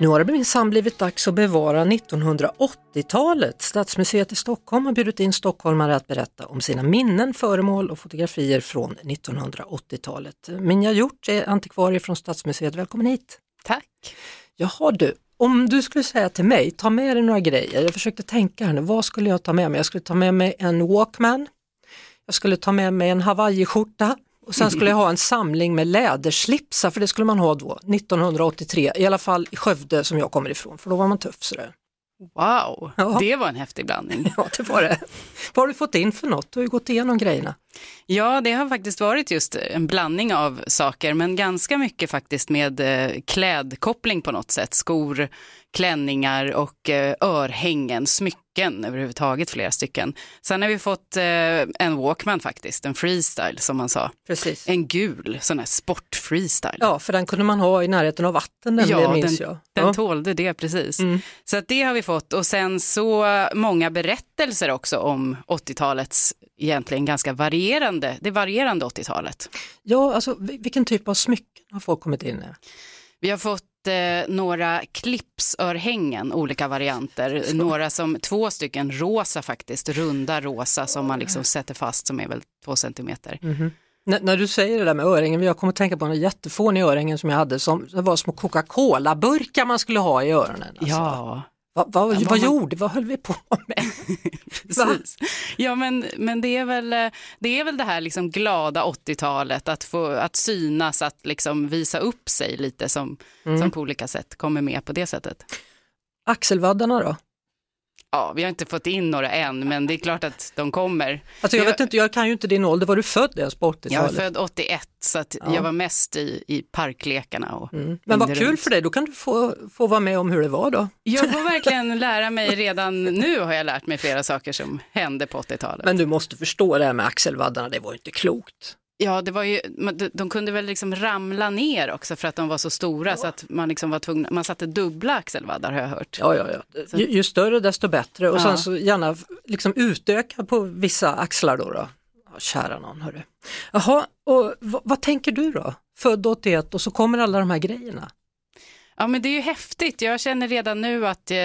Nu har det minsann blivit dags att bevara 1980-talet. Stadsmuseet i Stockholm har bjudit in stockholmare att berätta om sina minnen, föremål och fotografier från 1980-talet. Minja Hjort är antikvarie från Stadsmuseet, välkommen hit! Tack. Jaha du, om du skulle säga till mig, ta med dig några grejer. Jag försökte tänka här nu, vad skulle jag ta med mig? Jag skulle ta med mig en Walkman, jag skulle ta med mig en hawaiiskjorta och sen skulle jag ha en samling med läderslipsar för det skulle man ha då, 1983, i alla fall i Skövde som jag kommer ifrån, för då var man tuff sådär. Wow, Ja. det var en häftig blandning. Ja, det var det. Vad har du fått in för något? Du har ju gått igenom grejerna. Ja, det har faktiskt varit just en blandning av saker, men ganska mycket faktiskt med eh, klädkoppling på något sätt. Skor, klänningar och eh, örhängen, smycken överhuvudtaget, flera stycken. Sen har vi fått eh, en Walkman faktiskt, en freestyle som man sa. Precis. En gul, sån här sportfreestyle. Ja, för den kunde man ha i närheten av vatten, den ja, minns den, jag. den ja. Mm. tålde det precis. Så att det har vi fått och sen så många berättelser också om 80-talets egentligen ganska varierande, det varierande 80-talet. ja, alltså vil- vilken typ av smycken har folk kommit in med? Vi har fått eh, några clipsörhängen, olika varianter. Några som, två stycken rosa faktiskt, runda rosa som man liksom sätter fast som är väl två centimeter. Mm. N- när du säger det där med öringen, jag kommer att tänka på den jättefåniga öringen som jag hade som det var små Coca-Cola-burkar man skulle ha i öronen. Alltså. Ja, Va, va, vad man- gjorde, vad höll vi på med? precis. Ja, men, men det, är väl, eh, det är väl det här liksom glada 80-talet, att, få, att synas, att liksom visa upp sig lite som, Mm. som på olika sätt kommer med på det sättet. Axelvaddarna då? Ja, vi har inte fått in några än, men det är klart att de kommer. Alltså jag, Jag- vet inte, jag kan ju inte din ålder, var du född ens på Jag är 80-talet? född 81, så att jag var mest i, i parklekarna. Och Mm. Men vad hängde kul runt. för dig, då kan du få, få vara med om hur det var då. Jag får verkligen lära mig redan nu har jag lärt mig flera saker som hände på 80-talet. Men du måste förstå det här med axelvaddarna, det var ju inte klokt. Ja, det var ju, men de- de kunde väl liksom ramla ner också för att de var så stora så att man liksom var tvungen, man satte dubbla axelvaddar har jag hört. Ja, ja, ja. Ju, ju större desto bättre och Ja. sen så gärna f- liksom utöka på vissa axlar då. då. Ja, kära någon, hörru. Jaha, och v- vad tänker du då? Född 81 och så kommer alla de här grejerna. Ja, men det är ju häftigt. Jag känner redan nu att, eh,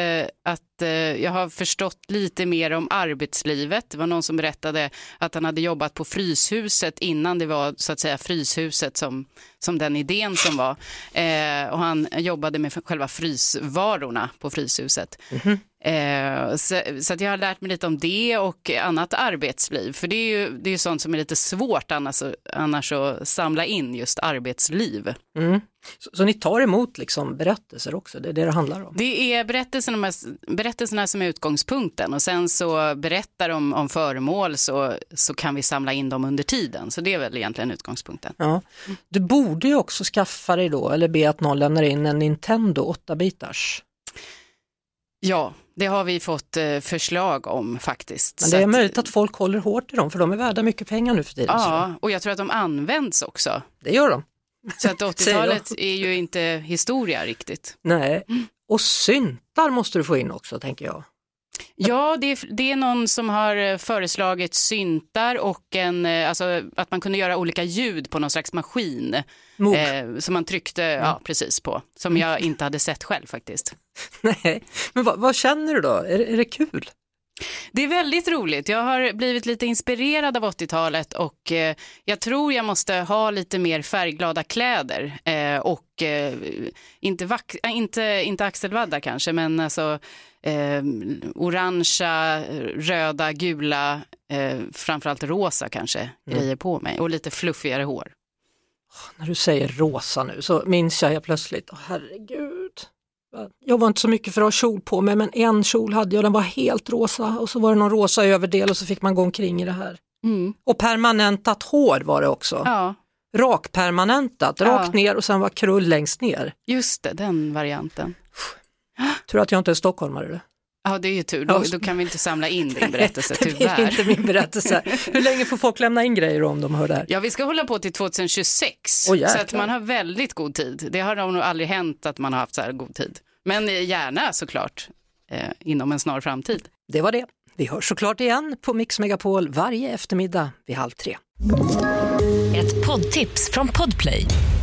att eh, jag har förstått lite mer om arbetslivet. Det var någon som berättade att han hade jobbat på Fryshuset innan det var så att säga Fryshuset som, som den idén som var. Eh, och han jobbade med själva frysvarorna på Fryshuset. Eh, så, så att jag har lärt mig lite om det och annat arbetsliv. För det är ju, det är ju sånt som är lite svårt annars, annars att samla in just arbetsliv. Så, så ni tar emot liksom berättelser också, det är det det handlar om. Det är berättelserna, berättelserna som är utgångspunkten och sen så berättar de om föremål så, så kan vi samla in dem under tiden. Så det är väl egentligen utgångspunkten. Ja. Du borde ju också skaffa dig då, eller be att någon lämnar in en Nintendo 8-bitars. Ja, det har vi fått eh, förslag om faktiskt. Men Så det är att- möjligt att folk håller hårt i dem, för de är värda mycket pengar nu för tiden. så Ja, och jag tror att de används också. Det gör de. Så att Säger 80-talet är ju inte historia riktigt. Nej. Mm. Och syntar måste du få in också, tänker jag. Ja, det är, det är någon som har eh, föreslagit syntar och en, eh, alltså, att man kunde göra olika ljud på någon slags maskin. Moog. Eh, som man tryckte ja, precis på, som jag inte hade sett själv faktiskt. Nej, men vad, vad känner du då? Är, det- är det kul? Det är väldigt roligt. Jag har blivit lite inspirerad av 80-talet och eh, jag tror jag måste ha lite mer färgglada kläder eh, och eh, inte, vax- äh, inte, inte axelvaddar kanske, men alltså eh, orangea, röda, gula, eh, framförallt rosa kanske grejer på mig och lite fluffigare hår. När du säger rosa nu så minns jag helt plötsligt, åh herregud. Jag var inte så mycket för att ha kjol på mig, men en kjol hade jag, den var helt rosa och så var det någon rosa överdel och så fick man gå omkring i det här. Och permanentat hår var det också. Ja, Rakpermanentat, rakt Ja. ner och sen var krull längst ner. just det, den varianten. Tror att jag inte är stockholmare du. Ja, det är ju tur. Då, då kan vi inte samla in din berättelse, det blir tyvärr. inte min berättelse. Hur länge får folk lämna in grejer om de hör det här? Ja, vi ska hålla på till 2026. Åh, jäklar. så att man har väldigt god tid. Det har nog aldrig hänt att man har haft så här god tid. Men eh, gärna såklart eh, inom en snar framtid. Det var det. Vi hörs såklart igen på Mix Megapol varje eftermiddag vid halv tre. Ett poddtips från Podplay.